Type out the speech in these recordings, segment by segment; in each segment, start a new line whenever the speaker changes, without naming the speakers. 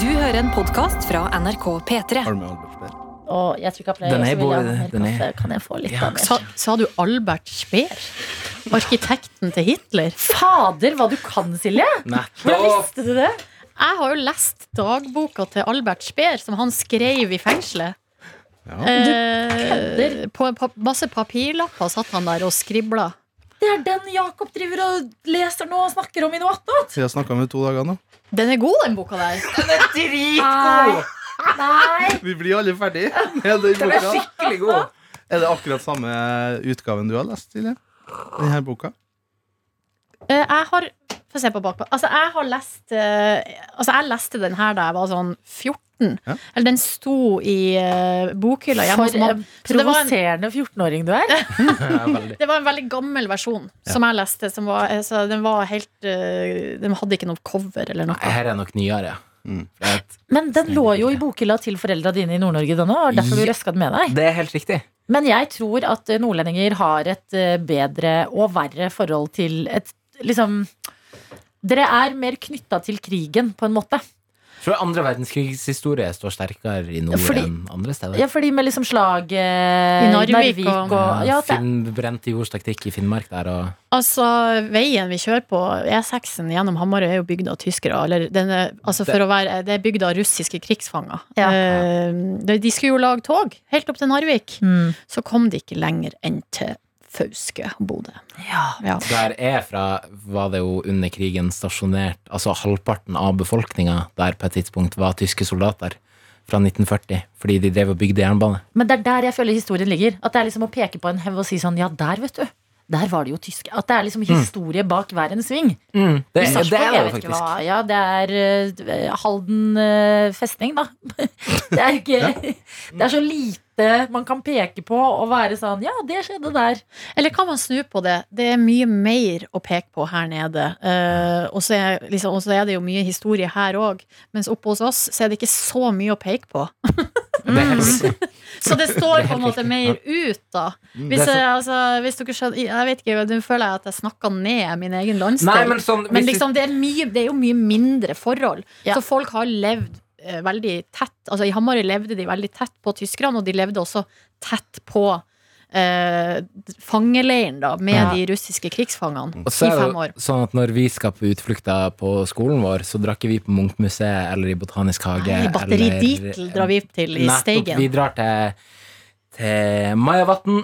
Du hører en podkast fra NRK P3.
Har du med Albert Speer?
Og jeg tror ikke jeg pleier,
Den er
så vil jeg ha
både-
mer
den er-
kaffe. Kan jeg få litt
Ja,
av det?
Sa, sa du Albert Speer? Arkitekten til Hitler?
Fader, hva du kan, Silje! Hvordan
Nettopp!
visste du det?
Jeg har jo lest dagboka til Albert Speer, som han skrev i fengselet.
Ja.
Eh, på en pa masse papirlapper satt han der og skribla.
Det er den Jakob driver og leser nå og snakker om i noe attåt.
Jeg har snakka med to dager nå.
Den er god, den boka der.
Nei. Nei.
Vi blir alle ferdige med den
Den er
boka.
skikkelig god.
Er det akkurat samme utgaven du har lest, Silje? Denne boka?
Eh, jeg har Få se på bakpå. Altså, jeg har lest eh, Altså, jeg leste den her da jeg var sånn 14.
Ja.
Eller den sto i eh, bokhylla hjemme hos
For
mamma.
en
Så det var en-
provoserende 14-åring du er.
Ja, veldig.
Det var en veldig gammel versjon som jeg leste. Som var, altså, den var helt eh, Den hadde ikke noe cover eller noe.
Her er nok nyere.
Mm.
For jeg-
Men den lå jo i bokhylla til foreldra dine i Nord-Norge, den òg. Derfor du
Ja.
røska den med deg.
Det er helt riktig.
Men jeg tror at eh, nordlendinger har et eh, bedre og verre forhold til et liksom Dere er mer knytta til krigen, på en måte.
Jeg tror andre verdenskrigshistorie står sterkere i nord
Ja, fordi-
enn andre steder.
Ja, fordi med liksom slaget I
I Narvik og-
ja, at det,
Finn brente jords taktikk i Finnmark der og
Altså, veien vi kjører på, E6-en gjennom Hamarøy, er jo bygd av tyskere. Eller den er, altså for
Det-
å være, det er bygd av russiske krigsfanger.
Ja.
Eh, de- de skulle jo lage tog helt opp til Narvik.
mm.
Så kom de ikke lenger enn til Fauske og Bodø.
ja.
Der jeg er fra, var det jo under krigen stasjonert Altså halvparten av befolkninga der på et tidspunkt var tyske soldater fra 1940, fordi de drev og bygde jernbane.
Men det er der jeg føler historien ligger. At det er liksom å peke på en hev og si sånn Ja, der, vet du. Der var det jo tyske. At det er liksom historie bak hver en sving.
Det,
I
Mm. det
Sarpsborg,
er det
jeg
jo
vet ikke
faktisk.
hva. Ja, det er eh, Halden eh, festning, da. Det er ikke Det er så lite man kan peke på og være sånn Ja, det skjedde der.
Eller kan man snu på det? Det er mye mer å peke på her nede. Eh, og så er, liksom, og så er det jo mye historie her òg. Mens oppe hos oss så er det ikke så mye å peke på.
Det er
Mm.
helt riktig.
Så det står på en måte mer ut, da. Hvis,
Mm. Det er sant.
jeg, altså, hvis dere skjønner Jeg vet ikke, nå føler jeg at jeg snakker ned min egen landsdel.
Nei, men
men
sånn hvis du-
liksom, det, er mye, det er jo mye mindre forhold.
Ja.
Så folk har levd eh, veldig tett Altså I Hamarøy levde de veldig tett på tyskerne, og de levde også tett på eh, fangeleiren, da, med
Ja.
de russiske krigsfangene
Og så
i
er det
fem år.
jo sånn at når vi skal på utflukter på skolen vår, så drar ikke vi på Munchmuseet eller i Botanisk hage.
Nei, batteri
eller-
Dietl drar vi til i
Nettopp, Vi
Steigen.
drar til, til Majavatn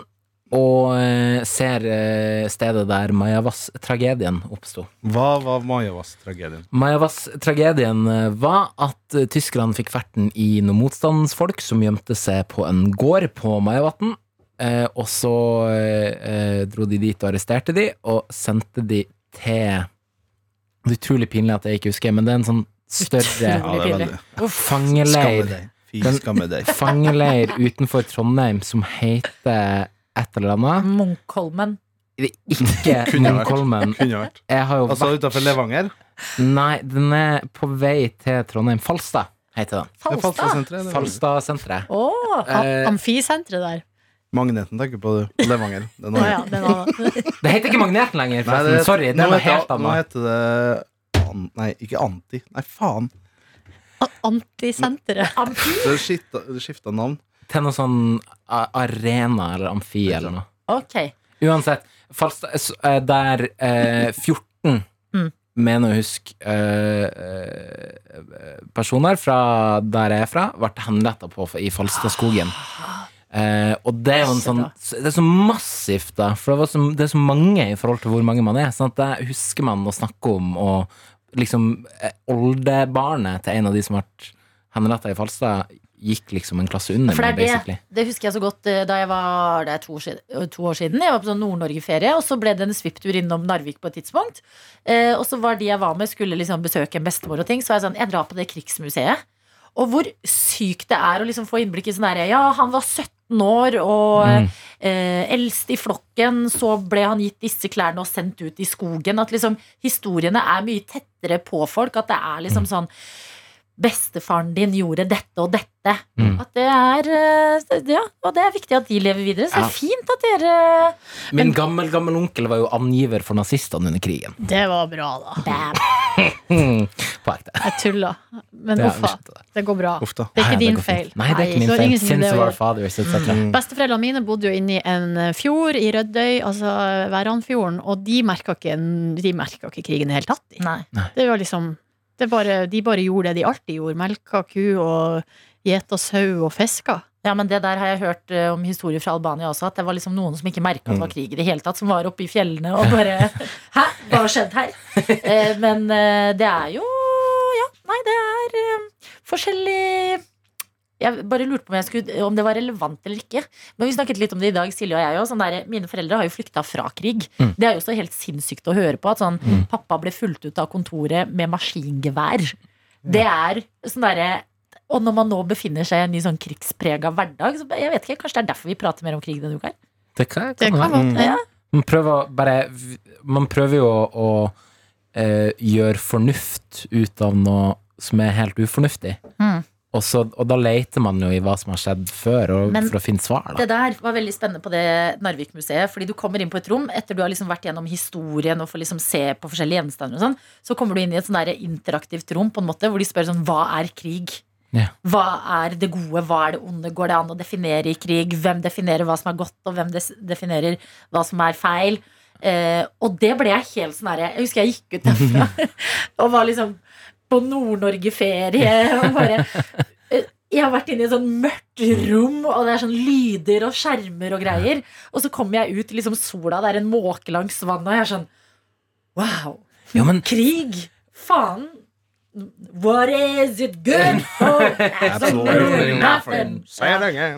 og eh, ser eh, stedet der Majavass-tragedien oppsto.
Hva var Majavass-tragedien?
Majavass-tragedien eh, var at eh, tyskerne fikk ferten i noen motstandsfolk som gjemte seg på en gård på Majavatn. Eh, og så eh, eh, dro de dit og arresterte de, og sendte de til Det er utrolig pinlig at jeg ikke husker, men det er en sånn større
Utrolig. Veldig pinlig.
Skamme
fangeleir,
deg. Fy
Den-
skamme deg.
fangeleir utenfor Trondheim som heter et eller annet.
Munkholmen.
Det er Ikke
Kunne vært.
Munkholmen.
Kunne vært.
Jeg har jo
Altså
vært
utafor Levanger.
Nei, den er på vei til Trondheim. Falstad heter den.
Det er
Falstad.
Falstadsenteret, det er Levanger.
Falstadsenteret.
Å!
Eh,
Amfisenteret der.
Magneten tenker på du. Levanger. Det er
Å
Norge.
ja, den var
det heter ikke Magneten lenger,
Nei,
forresten.
det-
Sorry, det
nå
var
heter-
helt
Nå
annet.
heter det an, Nei, ikke anti. Nei, faen.
Antisenteret.
Det skifta navn.
Til noe sånn a- arena eller amfi eller noe.
Ok.
Uansett, Falstad s- eh, Der eh, 14
Mm.
mener å huske eh, eh, personer fra der jeg er fra, ble henretta på i Falstadskogen.
Ah.
Eh, og det er jo en sånn Det er så massivt, da. For det, var så, det er så mange i forhold til hvor mange man er. Sånn at det husker man å snakke om, og liksom eh, oldebarnet til en av de som ble henretta i Falstad, gikk liksom en klasse under
For
meg,
det er
basically.
det, det husker jeg så godt eh, da jeg var det er to, år siden- eh, to år siden. Jeg var på sånn Nord-Norge-ferie, og så ble det en svipptur innom Narvik på et tidspunkt. Eh, og så var de jeg var med, skulle liksom besøke en bestemor og ting. Så var jeg sånn, jeg drar på det krigsmuseet. Og hvor sykt det er å liksom få innblikk i sånn derre Ja, han var 17 år og eh, eldst i flokken, så ble han gitt disse klærne og sendt ut i skogen. At liksom historiene er mye tettere på folk. At det er liksom sånn Bestefaren din gjorde dette og dette.
Mm.
At det er eh, Ja, og det er viktig at de lever videre. Så det
Ja.
er fint at dere
Min gammel, gammel onkel var jo angiver for nazistene under krigen.
Det var bra, da.
Bam.
På ekte.
Jeg tuller. Men
Ja,
uff
vi
a.
skjønte det.
Det går bra.
Uff da.
Det er
Nei,
ikke din
går fint.
feil.
Nei, det er ikke
så
min
har
feil.
ingenting med
Since
det å
our
gjøre. Mm.
fathers, et cetera.
Besteforeldrene mine bodde jo inne i en eh, fjord i Rødøy, altså Væranfjorden, og de merka ikke, de merket ikke krigen i det hele tatt. De.
Nei.
Det var liksom det bare, De bare gjorde det de alltid gjorde. Melka ku og gjeta sau og fiska.
Ja, men det der har jeg hørt eh, om historier fra Albania også, at det var liksom noen som ikke merka at det
Mm.
var krig i det hele tatt, som var oppe i fjellene og bare Hæ, hva har skjedd her? Eh, men eh, det er jo Ja, nei, det er eh, forskjellig jeg bare lurte på om, jeg skulle, om det var relevant eller ikke. Men vi snakket litt om det i dag, Silje og jeg òg. Sånn der, mine foreldre har jo flykta fra krig.
Mm.
Det er jo så helt sinnssykt å høre på. At sånn,
Mm.
pappa ble fulgt ut av kontoret med maskingevær. Det er sånn derre og når man nå befinner seg i en ny sånn krigsprega hverdag, så jeg vet ikke, kanskje det er derfor vi prater mer om krig denne uka? her?
Det kan,
Det kan
være. Mm.
godt hende.
Man prøver å bare Man prøver jo å, å eh, gjøre fornuft ut av noe som er helt ufornuftig.
Mm.
Og, så, og da leter man jo i hva som har skjedd før, og,
Men-
for å finne svar. Da.
Det der var veldig spennende på det Narvik-museet. Fordi du kommer inn på et rom etter du har liksom vært gjennom historien og får liksom se på forskjellige gjenstander. og sånn, Så kommer du inn i et sånn der interaktivt rom på en måte, hvor de spør sånn Hva er krig?
Ja.
Hva er det gode, hva er det onde? Går det an å definere i krig? Hvem definerer hva som er godt, og hvem des- definerer hva som er feil? Eh, og det ble jeg helt sånn herre Jeg husker jeg gikk ut derfra og var liksom på Nord-Norge-ferie og bare eh, jeg har vært inne i et sånn mørkt rom, og det er sånn lyder og skjermer og greier. Og så kommer jeg ut i liksom sola, det er en måke langs vannet, og jeg er sånn Wow!
Ja, men
Krig! Faen! What is it good for? Absolutely nothing.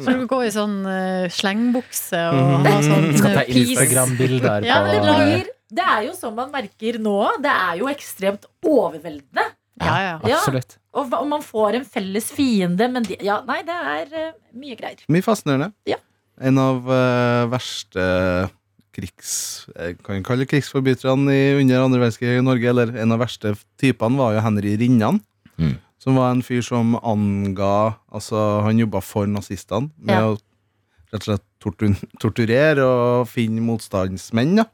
Så du gå i sånn eh, slengbukse og ha sånn
skal ta
eh, peace.
Instagram-bilder
Ja,
på
Det blir, det er jo sånn man merker nå. Det er jo ekstremt overveldende.
Ja, ja.
Ja.
Absolutt.
Og, hva- og man får en felles fiende, men de, ja, nei, det er eh, mye greier.
Mye fascinerende.
Ja.
En av eh, verste krigs... Jeg kan jeg kalle det krigsforbryterne i, under andre verdenskrig i Norge, eller en av verste typene, var jo Henry Rinnan.
Mm.
Som var en fyr som anga Altså, han jobba for nazistene med
Ja.
å rett og slett tortur, torturere og finne motstandsmenn, da.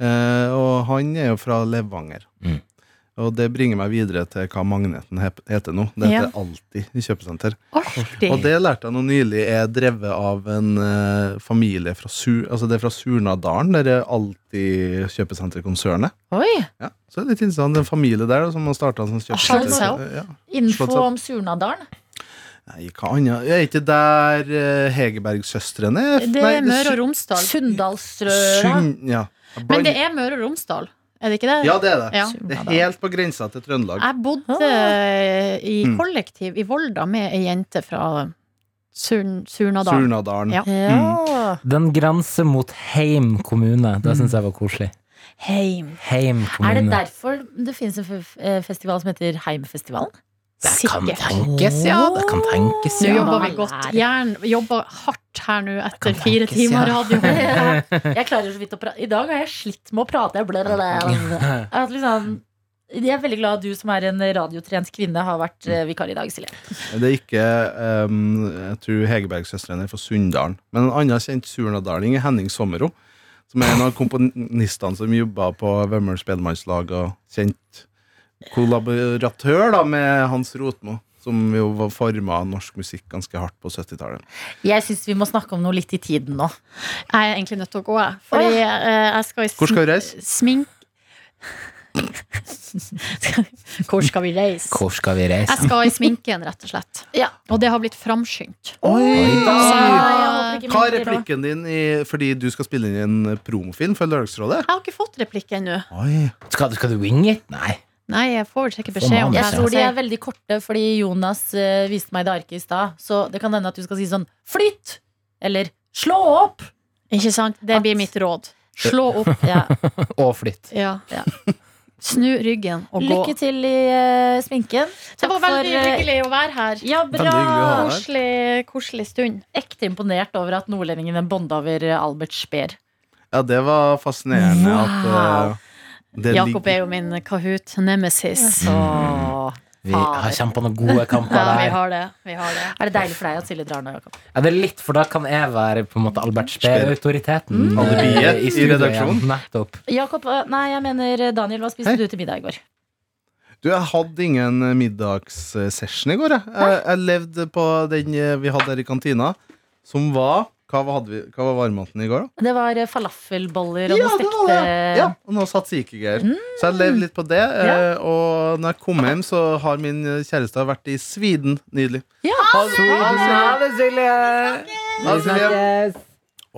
Eh, og han er jo fra Levanger.
Mm.
Og det bringer meg videre til hva Magneten he- heter nå. Det heter
Ja.
Alltid i kjøpesenter.
Artig.
Og det lærte jeg nå nylig er drevet av en eh, familie fra, Sur, altså det er fra Surnadalen, der er alltid kjøpesenterkonsernet.
Oi!
Ja, så det er litt interessant. En familie der da, som har starta som
Slått
kjøpesenter.
seg opp?
Ja.
Info
Slått seg opp.
om Surnadalen.
Nei, hva annet? Er ikke der uh, Hegerberg-søstrene er?
Det
Nei,
er Møre og
Sy-
Romsdal.
Sunndalsrøra.
Sund- Ja. Jeg
Men det
blander-
er Møre og Romsdal, er det ikke det?
ja, det er det.
Ja.
Det er helt på grensa til Trøndelag.
Jeg bodde eh, i
Mm.
kollektiv i Volda med ei jente fra Surn- Surnadal.
Surnadalen.
Ja.
Ja.
Den grenser mot Heim kommune.
Mm.
Det syns jeg var koselig.
Heim.
Heim
Er det
kommune.
derfor det finnes en f- f- festival som heter Heimfestivalen?
kan
Sikkert.
tenkes, ja. Det kan tenkes,
Nå
ja.
jobber vi godt. Jern jobber hardt her nå etter fire
tenkes,
timer
ja.
radio.
Jeg klarer jo så vidt å prate. I dag har jeg slitt med å prate. Jeg ble- At liksom, jeg er veldig glad at du som er en radiotrent kvinne, har vært eh, vikar i dag, Silje.
Det er ikke ehm, Jeg tror Hegerberg-søstrene er fra Sunndalen. Men en annen kjent surnadaling er Henning Sommero, som er en av komponistene som jobba på Vømmøl Spedemannslag, og kjent kollaboratør da med Hans Rotmo, som jo var forma norsk musikk ganske hardt på 70-tallet.
Jeg syns vi må snakke om noe litt i tiden nå.
Jeg er egentlig nødt til å gå, jeg. Fordi eh, jeg skal i
Hvor skal vi reise?
sm- smink... Hvor skal vi reise?
Hvor skal vi reise?
Jeg skal i sminken, rett og slett.
Ja.
Og det har blitt framskyndt.
Oi.
Så
Nei, jeg
jeg-
håper ikke
Hva er
mindre nå.
replikken din i, fordi du skal spille inn en promofilm for Lørdagsrådet?
Jeg har ikke fått replikk ennå.
Oi.
Skal, skal du wing it? Nei.
Nei, jeg får sikkert
Får
beskjed om
manus,
det.
Jeg
ja.
tror de er veldig korte, fordi Jonas eh, viste meg det arket i stad. Så det kan hende at du skal si sånn flytt! Eller slå opp!
Ikke sant? Det blir mitt råd. Slå opp.
Ja.
Og flytt.
Ja.
Ja.
Snu ryggen og gå.
Lykke til i eh, sminken.
Det
Takk
var
for,
veldig
eh,
hyggelig å være her.
Ja,
Veldig hyggelig å ha
bra!
deg.
Koselig, koselig stund.
Ekte imponert over at nordlendingene bonda over eh, Albert Speer.
Ja, det var fascinerende at
Wow.
eh, det
Jakob
ligger-
er jo min Kahoot nemesis.
Så Mm.
Vi har kjempa noen gode kamper
Ah, Ja, vi
der.
har det. Vi har det.
er det deilig for deg at Silje drar nå, Jakob.
Ja, det er litt, for da kan jeg være på en måte Albert Speer-autoriteten.
Mm.
Alibiet i
studio igjen.
redaksjonen.
Nettopp.
Jakob, eh, nei, jeg mener eh, Daniel, hva
Hei.
spiste du til middag i går?
Du, jeg hadde ingen eh, middagssession i går. Jeg, jeg, jeg levde på den eh, vi hadde her i kantina, som var Hva hadde vi, hva var varmmaten i går, da?
Det var eh, falafelboller og noe
det
stekte Mm.
var det. Ja, og noe satsikegreier. Så jeg levde litt på det. eh, Og når jeg kom hjem, så har min eh, kjæreste vært i Sviden. Nydelig.
Ja,
Ha det, Silje.
det, Silje!
Ha det, Silje.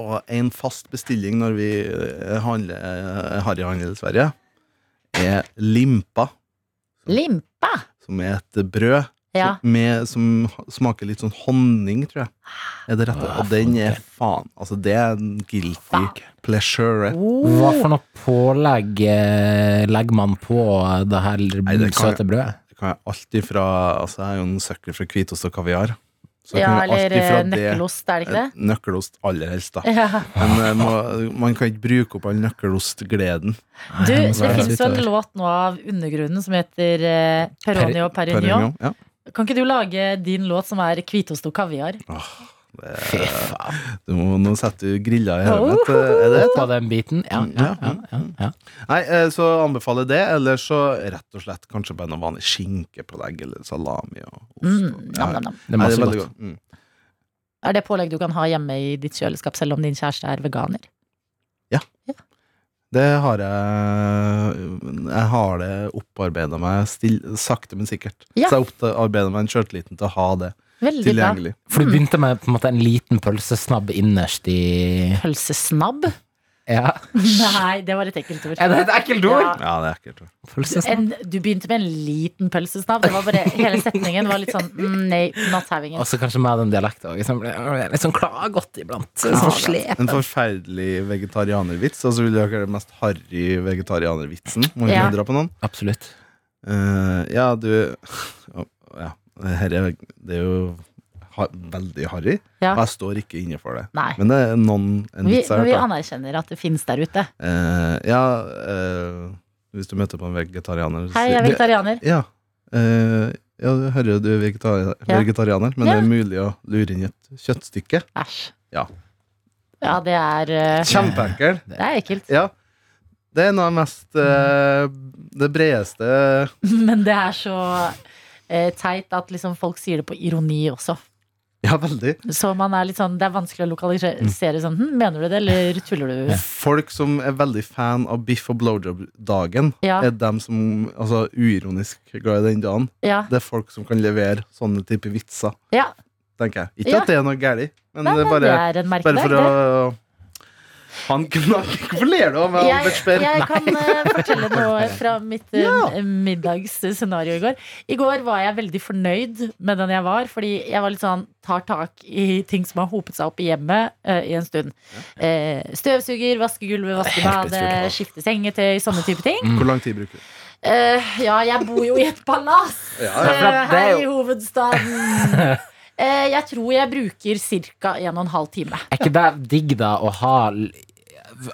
Og en fast bestilling når vi eh, handler eh, harryhandel i Sverige, er limpa,
Limpa.
som er et brød
Ja.
som, med, som smaker litt sånn honning, tror jeg. Er det rette? Og den er faen Altså, det er en guilty pleasure.
Hva for noe pålegg eh, legger man på det her
det kan
søte brødet?
Det kan jeg alltid fra Altså, jeg er jo en søkker fra hvitost og kaviar. Så jeg
ja,
kan jo
eller
alltid fra
eh,
det-
nøkkelost, er det ikke det?
Eh, Nøkkelost aller helst, da.
Ja.
Men eh, må, man kan ikke bruke opp all nøkkelostgleden.
Du,
Nei,
det
nå er jeg
finnes jo en
utover.
låt nå av Undergrunnen som heter eh, Peroni og Perignon.
Perignon, Ja.
Kan ikke du lage din låt som er hvitost og kaviar?
Eh,
Fy faen.
Du må, nå setter du grilla i hodet mitt. eh, Er det Mm,
På den biten? Ja, ja, ja. ja, ja.
Nei, eh, så anbefaler jeg det. Eller så rett og slett kanskje bare noe vanlig skinkepålegg eller salami og ost.
Mm,
Ja,
nam, nam, nam.
Nei,
Det er
det
masse
er veldig
godt.
godt. Mm.
Er det pålegg du kan ha hjemme i ditt kjøleskap selv om din kjæreste er veganer?
Det har jeg Jeg har det opparbeida meg still, sakte, men sikkert.
Ja.
Så jeg opparbeida meg en sjøltilliten til å ha det
Veldig bra.
tilgjengelig.
Mm.
For du begynte med på en måte en liten pølsesnabb innerst i
Pølsesnabb?
Ja.
Nei, det var et ekkelt ord.
Er det et ekkelt ord?
Ja.
Ja, det er ekkelt.
Pølsesnabb?
En, du begynte med en liten pølsesnabb. Det var bare, hele setningen var litt sånn mm, Nei, not having
Og
it.
så kanskje med den dialekten òg. Liksom, litt sånn klagodt iblant. Sånn slep.
En forferdelig vegetarianervits. Og så vil dere ha den mest harry vegetarianervitsen. Må ikke
Ja.
undre på noen.
Absolutt.
Eh, ja, du Ja, her er, det er jo ha, veldig harry.
Ja.
Og jeg står ikke inne for det.
Nei.
Men det er noen en
Vi,
vits jeg har
men vi
hørt. da.
anerkjenner at det finnes der ute.
Eh, ja, eh, hvis du møter på en vegetarianer så
Hei,
sier-
jeg er vegetarianer.
Ja, eh, ja du hører jo du er vegetarianer,
Ja.
vegetarianer men
Ja.
det er mulig å lure inn et kjøttstykke.
Æsj.
Ja.
Ja, det er eh,
Kjempeenkel.
Det er ekkelt.
Ja. Det er noe av det mest eh, Det bredeste
Men det er så eh, teit at liksom folk sier det på ironi også.
Ja, veldig.
Så man er litt sånn, det er vanskelig å lokalisere sånn hm, Mener du det, eller tuller du?
Folk som er veldig fan av biff og blowjob-dagen,
Ja.
er dem som altså, uironisk er glad i den dagen.
Ja.
Det er folk som kan levere sånne type vitser,
ja.
tenker jeg. Ikke
Ja.
at det er noe galt, men
Nei,
det er
men det
bare,
er en merkedag.
bare for å Han knakk Hvorfor ler du av meg,
Jeg,
Albert Speer?
jeg kan eh, fortelle noe fra mitt eh, middagsscenario i går. I går var jeg veldig fornøyd med den jeg var, fordi jeg var litt sånn tar tak i ting som har hopet seg opp i hjemmet eh, i en stund. Eh, støvsuger, vaske gulvet, vaske
Helt
badet,
utrolig.
skifte sengetøy, sånne type ting.
Hvor lang tid bruker du?
Eh, ja, jeg bor jo i et palass
Ja,
for at
eh,
det er
her
jo-
i hovedstaden. Eh, jeg tror jeg bruker ca. en og en halv time.
Er ikke det digg, da, å ha l-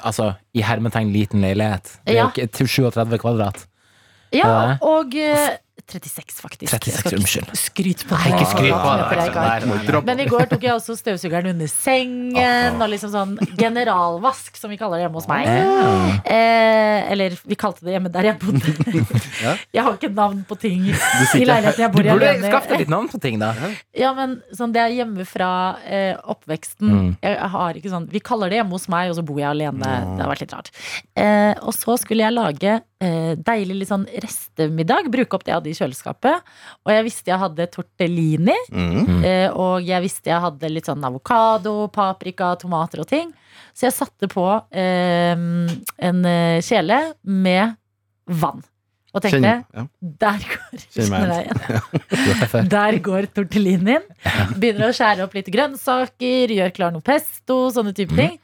Altså, i hermetegn liten leilighet? Det
Ja.
er jo ikke til 37 kvadrat.
Ja,
Ja.
og eh, 36, faktisk.
36,
Jeg skal ikke
unnskyld.
Skryt på
Ikke skryt på
Kvadratmeter er ikke alt.
deg.
Men i går tok jeg også støvsugeren under sengen, og liksom sånn generalvask, som vi kaller det hjemme hos meg. Eh, eller vi kalte det hjemme der jeg bodde.
Ja.
Jeg har ikke navn på ting i
sitter-
leiligheten jeg
Du
bor i.
burde
alene.
skaffe deg litt navn på ting, da.
Ja, men sånn, det er hjemme fra eh, oppveksten. Jeg, har ikke sånn Vi kaller det hjemme hos meg, og så bor jeg alene. Det har vært litt rart. Eh, og så skulle jeg lage eh, deilig litt sånn restemiddag. Bruke opp det jeg hadde i kjøleskapet. Og jeg visste jeg hadde tortellini.
Mm.
Eh, og jeg visste jeg hadde litt sånn avokado, paprika, tomater og ting. Så jeg satte på eh, en eh, kjele med vann. Og tenkte
Kjenner- ja.
der går,
Kjenner meg
kjenner deg igjen. Der går tortellinien. Begynner å skjære opp litt grønnsaker, gjør klar noe pesto, sånne type ting.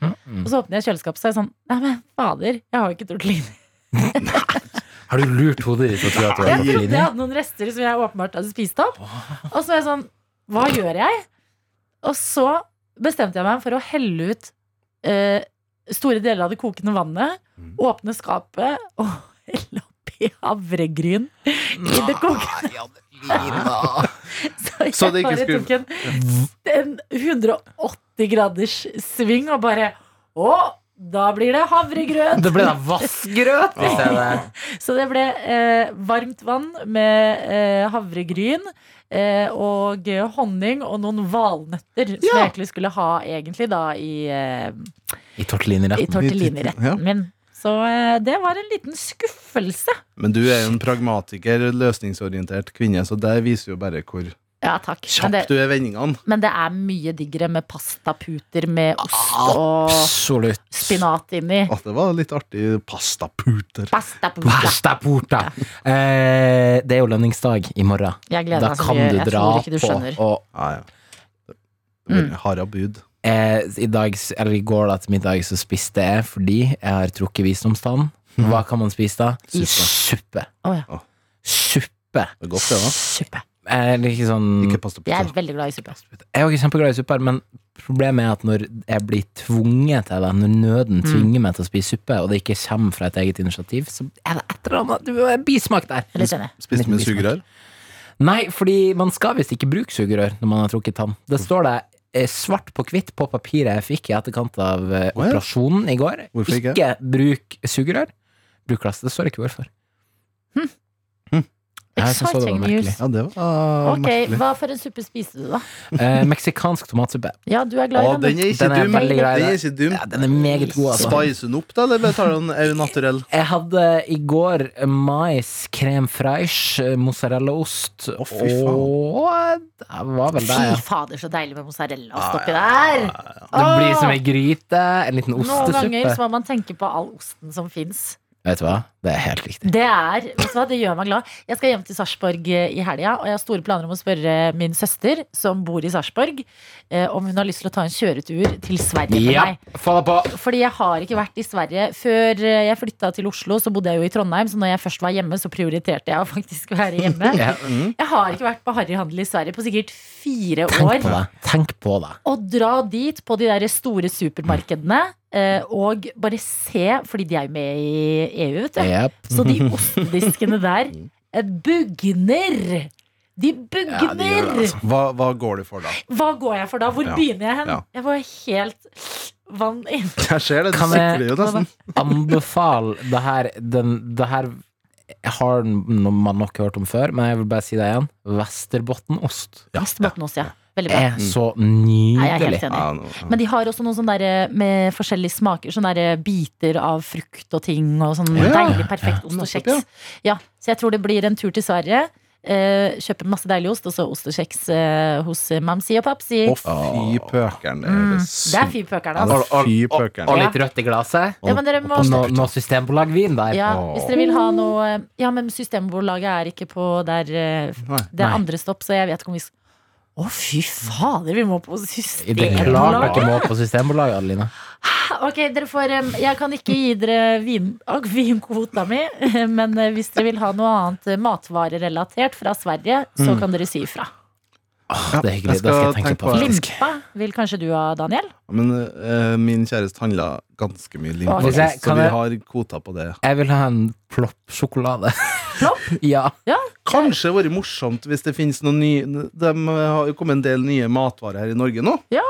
Og så åpner jeg kjøleskapet, så er jeg sånn Nei, men fader, jeg har jo ikke tortellini.
Har du lurt hodet ditt og tror at
Jeg
du har
trodde jeg
tortellini?
hadde noen rester som jeg åpenbart hadde spist opp. Og så er jeg sånn Hva gjør jeg? Og så bestemte jeg meg for å helle ut eh, store deler av det kokende vannet, åpne skapet og helle oppi havregryn i det kokende Så jeg
Så det ikke
bare
skulle-
tok en, en 180 graders sving og bare Å, Da blir det havregrøt.
Det ble da vassgrøt i stedet.
Så det ble eh, varmt vann med eh, havregryn eh, og honning og noen valnøtter, som jeg egentlig skulle ha egentlig da i, eh, i
I tortelliniretten.
tortelliniretten
Ja.
min. Så eh, det var en liten skuffelse.
Men du er jo en pragmatiker, løsningsorientert kvinne, så det viser jo bare hvor
Ja, takk. Men
kjapp
det,
du er i vendingene.
men det er mye diggere med pastaputer med ost
Ah.
og
Absolutt.
spinat inni.
At det var litt artig pastaputer.
Pastaputer.
Basta porta! Eh, det er jo lønningsdag i morgen.
Jeg gleder
Da
meg så
kan
mye.
du
Jeg
dra
tror ikke du
på.
skjønner.
Og
Ja, ja. Det
Mm.
blir Harabud.
eh, i, dag, eller I går da til middag så spiste jeg fordi jeg har trukket visdomstann. Hva kan man spise da?
Is.
Suppe.
Å,
ja.
Suppe.
Det er godt, det, da.
Suppe.
Eh, Eller ikke sånn
Ikke pastaputer.
Jeg er veldig glad i suppe.
Jeg er jo ikke kjempeglad i suppe, men problemet er at når jeg blir tvunget til det, når nøden tvinger meg til å spise suppe, og det ikke kommer fra et eget initiativ, så er det et eller annet du- en bismak der.
Jeg er Litt enig.
Spiste med
Liten bismak.
sugerør.
Nei, fordi man skal visst ikke bruke sugerør når man har trukket tann. Det står det eh, svart på hvitt på papiret jeg fikk i etterkant av eh,
Å ja.
operasjonen i går.
Hvorfor ikke?
bruk sugerør. Bruk glass. Det står ikke hvorfor. Hm. Jeg synes det var
Hm. Exciting news.
merkelig.
Ja, det var
Ok,
merkelig.
Hva for en suppe spiste du, da?
Eh, meksikansk tomatsuppe.
Ja, du er
Å,
glad i den.
den er ikke
Den er
dum!
veldig grei,
Den er
det.
ikke dum.
Ja, den er meget god, altså.
Spice den opp, da, eller bare tar du den au naturell?
Jeg hadde i går mais, crème fraiche, mozzarellaost
Å, fy faen.
og eh, Det var vel det, ja.
Fy fader, så deilig med mozzarellaost oppi der!
Det blir som ei gryte, en liten
Noen ganger
ostesuppe.
så må man tenke på all osten som fins.
Vet du hva? Det er helt riktig.
Det er, vet du hva, det gjør meg glad. Jeg skal hjem til Sarpsborg eh, i helga, og jeg har store planer om å spørre min søster, som bor i Sarpsborg, eh, om hun har lyst til å ta en kjøretur til Sverige med
Ja,
meg.
få det på!
Fordi jeg har ikke vært i Sverige. Før eh, jeg flytta til Oslo, så bodde jeg jo i Trondheim. Så når jeg først var hjemme, så prioriterte jeg å faktisk være hjemme.
Ja. mm.
Jeg har ikke vært på harryhandel i Sverige på sikkert fire
Tenk på
år.
det. Tenk på det.
Å dra dit på de der store supermarkedene eh, og bare se, fordi de er jo med i EU, vet du.
Yep.
Så de ostediskene der eh, bugner! De
Ja, de gjør
bugner!
det, altså.
Hva, hva går du for, da?
Hva går jeg for da? Hvor
Ja.
begynner jeg hen?
Ja.
Jeg får helt vann inn.
Jeg ser det, du
Kan jeg-
sikler jo
sånn.
nesten.
Anbefal det her den, Det her har man nok hørt om før, men jeg vil bare si det igjen. Vesterbottenost
Ja,
Vestbotnos, ja. Veldig bra.
er så
Nei, jeg er
nydelig.
helt enig.
Ja, nå- ja.
Men de har også noen sånne der, eh, med forskjellige smaker. Sånne der eh, biter av frukt og ting. Og sånn
Ja,
deilig, perfekt ost og
nettopp, ja.
kjeks. Ja, så jeg tror det blir en tur til Sverige. Eh, kjøpe masse deilig ost, og så ost og kjeks eh, hos mamsi og papsi.
Å, fy pøkeren. Det er
Mm, det er
sykt.
fy pøkeren,
Ja, det
altså.
er fy pøkeren.
Og litt rødt i glasset.
Ja, men dere må
Og noe no systembolagsvin der.
ja,
Åh.
hvis dere vil ha noe eh, Ja, men Systembolaget er ikke på der eh,
Nei.
Det
Nei.
er andre stopp, så jeg vet ikke om vi skal Å, fy fader, vi må på
I det klart
Systembolaget!
dere må på Systembolaget, Adelina.
Ah, Ok, dere får em, Jeg kan ikke gi dere vin, og vinkvota mi, men eh, hvis dere vil ha noe annet eh, matvarerelatert fra Sverige, så
Mm.
kan dere si ifra.
Ja,
Det er
jeg
hyggelig. Det skal
skal
jeg tenke
tenke
på.
på det.
faktisk.
Limpa vil kanskje du ha, Daniel?
Men eh, min kjæreste handla ganske mye lim,
Å,
faktisk,
hvis jeg-
så
kan
vi
jeg-
har kvota på det.
Jeg vil ha en plopp-sjokolade.
Plopp?
ja.
Kanskje det hadde vært morsomt hvis det finnes noen nye De har jo kommet en del nye matvarer her i Norge nå.
Ja.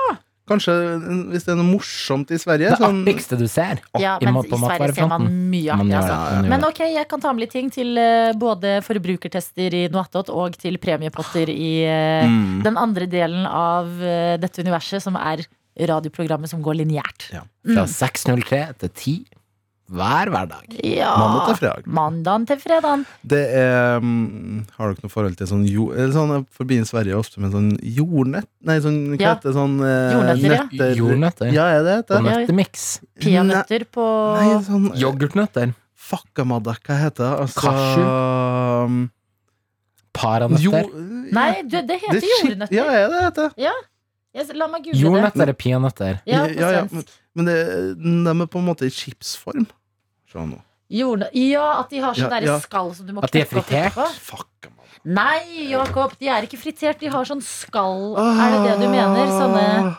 Kanskje en- hvis det er noe morsomt i Sverige.
Det
sånn-
artigste du ser.
Ja,
i
men
mat-
i
på
Sverige ser man
matvarefronten.
mye
Man
artig,
gjør
altså.
det, man gjør
Men
det.
ok, jeg kan ta med litt ting til eh, både forbrukertester i Noatot og til premiepotter i
Mm.
eh,
Mm.
den andre delen av eh, dette universet, som er radioprogrammet som går lineært.
Fra
Mm.
6.03 til 10 hver hverdag.
Ja.
Mandag til fredag.
Mandagen til fredagen.
Det er mm, Har dere noe forhold til sånn jord... Eller sånn, jeg forbinder Sverige ofte med sånn jordnett Nei, sånn hva
Ja.
heter det? Sånn eh,
Jordnøtter, ja.
nøtter-
Jordnøtter.
Ja, er det det?
Og nøttemiks.
Peanøtter på
Nei, sånn
Yoghurtnøtter.
Fuckamadda, hva heter det? Altså, mm,
Cashew?
Jo, eh,
Paranøtter.
Nei, du, det
det
heter
er shit-
jordnøtter.
Ja, er det det heter?
Jeg- La meg google det.
Jordnøtter er peanøtter.
Ja, på
ja,
svensk.
men, men det, de er på en måte i chipsform. Se nå.
Jordnø- ja, at de har sånn
Ja,
derre
ja.
skall som du må
At de er
knekke opp
fritert?
etterpå.
Fuckamadda.
Nei, Jakob, de er ikke fritert. De har sånn skall Er det det du
Ah.
mener? Sånne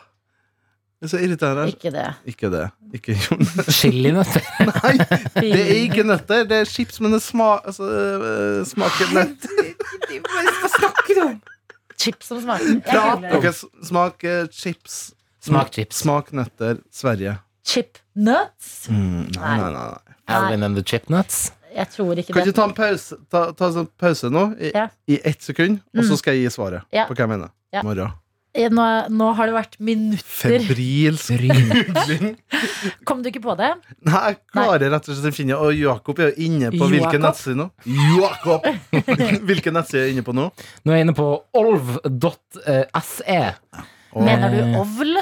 Det er så irriterende.
Ikke det.
Ikke det. Ikke jordnøtter.
Chilinøtter.
Nei, det er ikke nøtter. Det er chips, men det sma, altså, øh, smaker nøtt.
Hva snakker du om?
Chips som smaker. Jeg
Prat
googler det.
dere. Smak eh, chips.
Smak chips.
Smak nøtter. Sverige.
Chipnuts?
Mm, nei,
Nei.
nei, nei, nei.
Alvin and the Chipnuts.
Jeg tror ikke
Kan
det.
ikke ta en pause, ta, ta en sånn pause nå, i,
Ja.
i ett sekund, og
Mm.
så skal jeg gi svaret
Ja.
på hva jeg mener.
Ja.
Morgen.
Eh, Nå, nå har det vært minutter.
Febrilsk googling.
Kom du ikke på det?
Nei, jeg klarer rett og slett å finne Og Jakob er jo inne på
Jakob?
hvilken nettside nå? Jakob! Hvilken nettside er jeg inne på nå?
Nå er jeg inne på eh, olv.se.
Og-
Mener du ovl?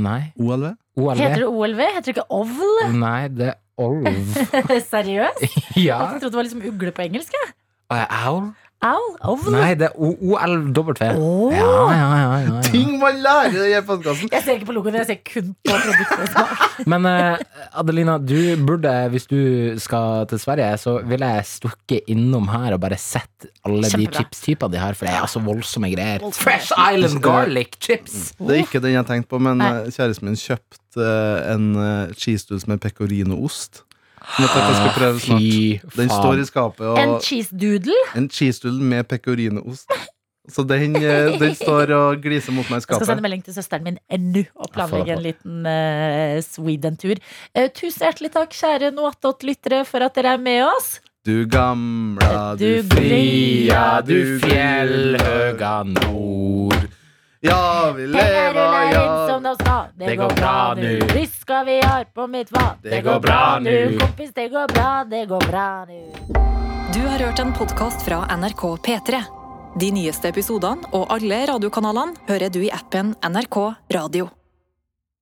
Nei,
OLV?
OLV.
Heter det OLV? Heter det ikke ovl?
Nei, det er olv.
Seriøst?
Ja.
Jeg trodde det var liksom ugle på engelsk. jeg.
Eh, Owl?
Owl? Ovl?
Nei, det er OLW. Ja,
Åh.
ja, ja, ja, ja.
Ting man lærer i denne podkasten!
Jeg ser ikke på logoen, jeg ser kun på produktet.
Men eh, Adelina, du burde, hvis du skal til Sverige, så vil jeg stukke innom her og bare sett alle
Kjempebra.
de chipstypene de har, for det er altså voldsomme greier. Mm.
Voldsomme.
Fresh Island garlic chips!
Det er ikke den jeg tenkte på, men
Nei.
eh, kjæresten min kjøpte eh, en eh, cheese doodles med pecorino-ost. Som jeg tenkte jeg skulle prøve snart.
Fy
Den står i skapet,
En
og
cheese doodle.
en cheese doodle med pecorino-ost. Så den, eh, den står og gliser mot meg i
Jeg skal sende
skapet.
melding til søsteren min ennå og planlegge
Jeg
en
får
liten eh, Sweden-tur. Eh, tusen hjertelig takk, kjære Noatot-lyttere, for at dere er med oss.
Du gamla, du
Du
fria,
Fria
du
du
fjellhøga.
fjellhøga nord.
Ja, vi
Det er
leva, ja.
en læring som de sa. Det, går bra nu. Ryska vi har på mitt hva.
Det går bra
nu.
Kompis, det går bra, det går bra nu.
Du har hørt en podkast fra NRK P3. De nyeste episodene og alle radiokanalene hører du i appen NRK Radio.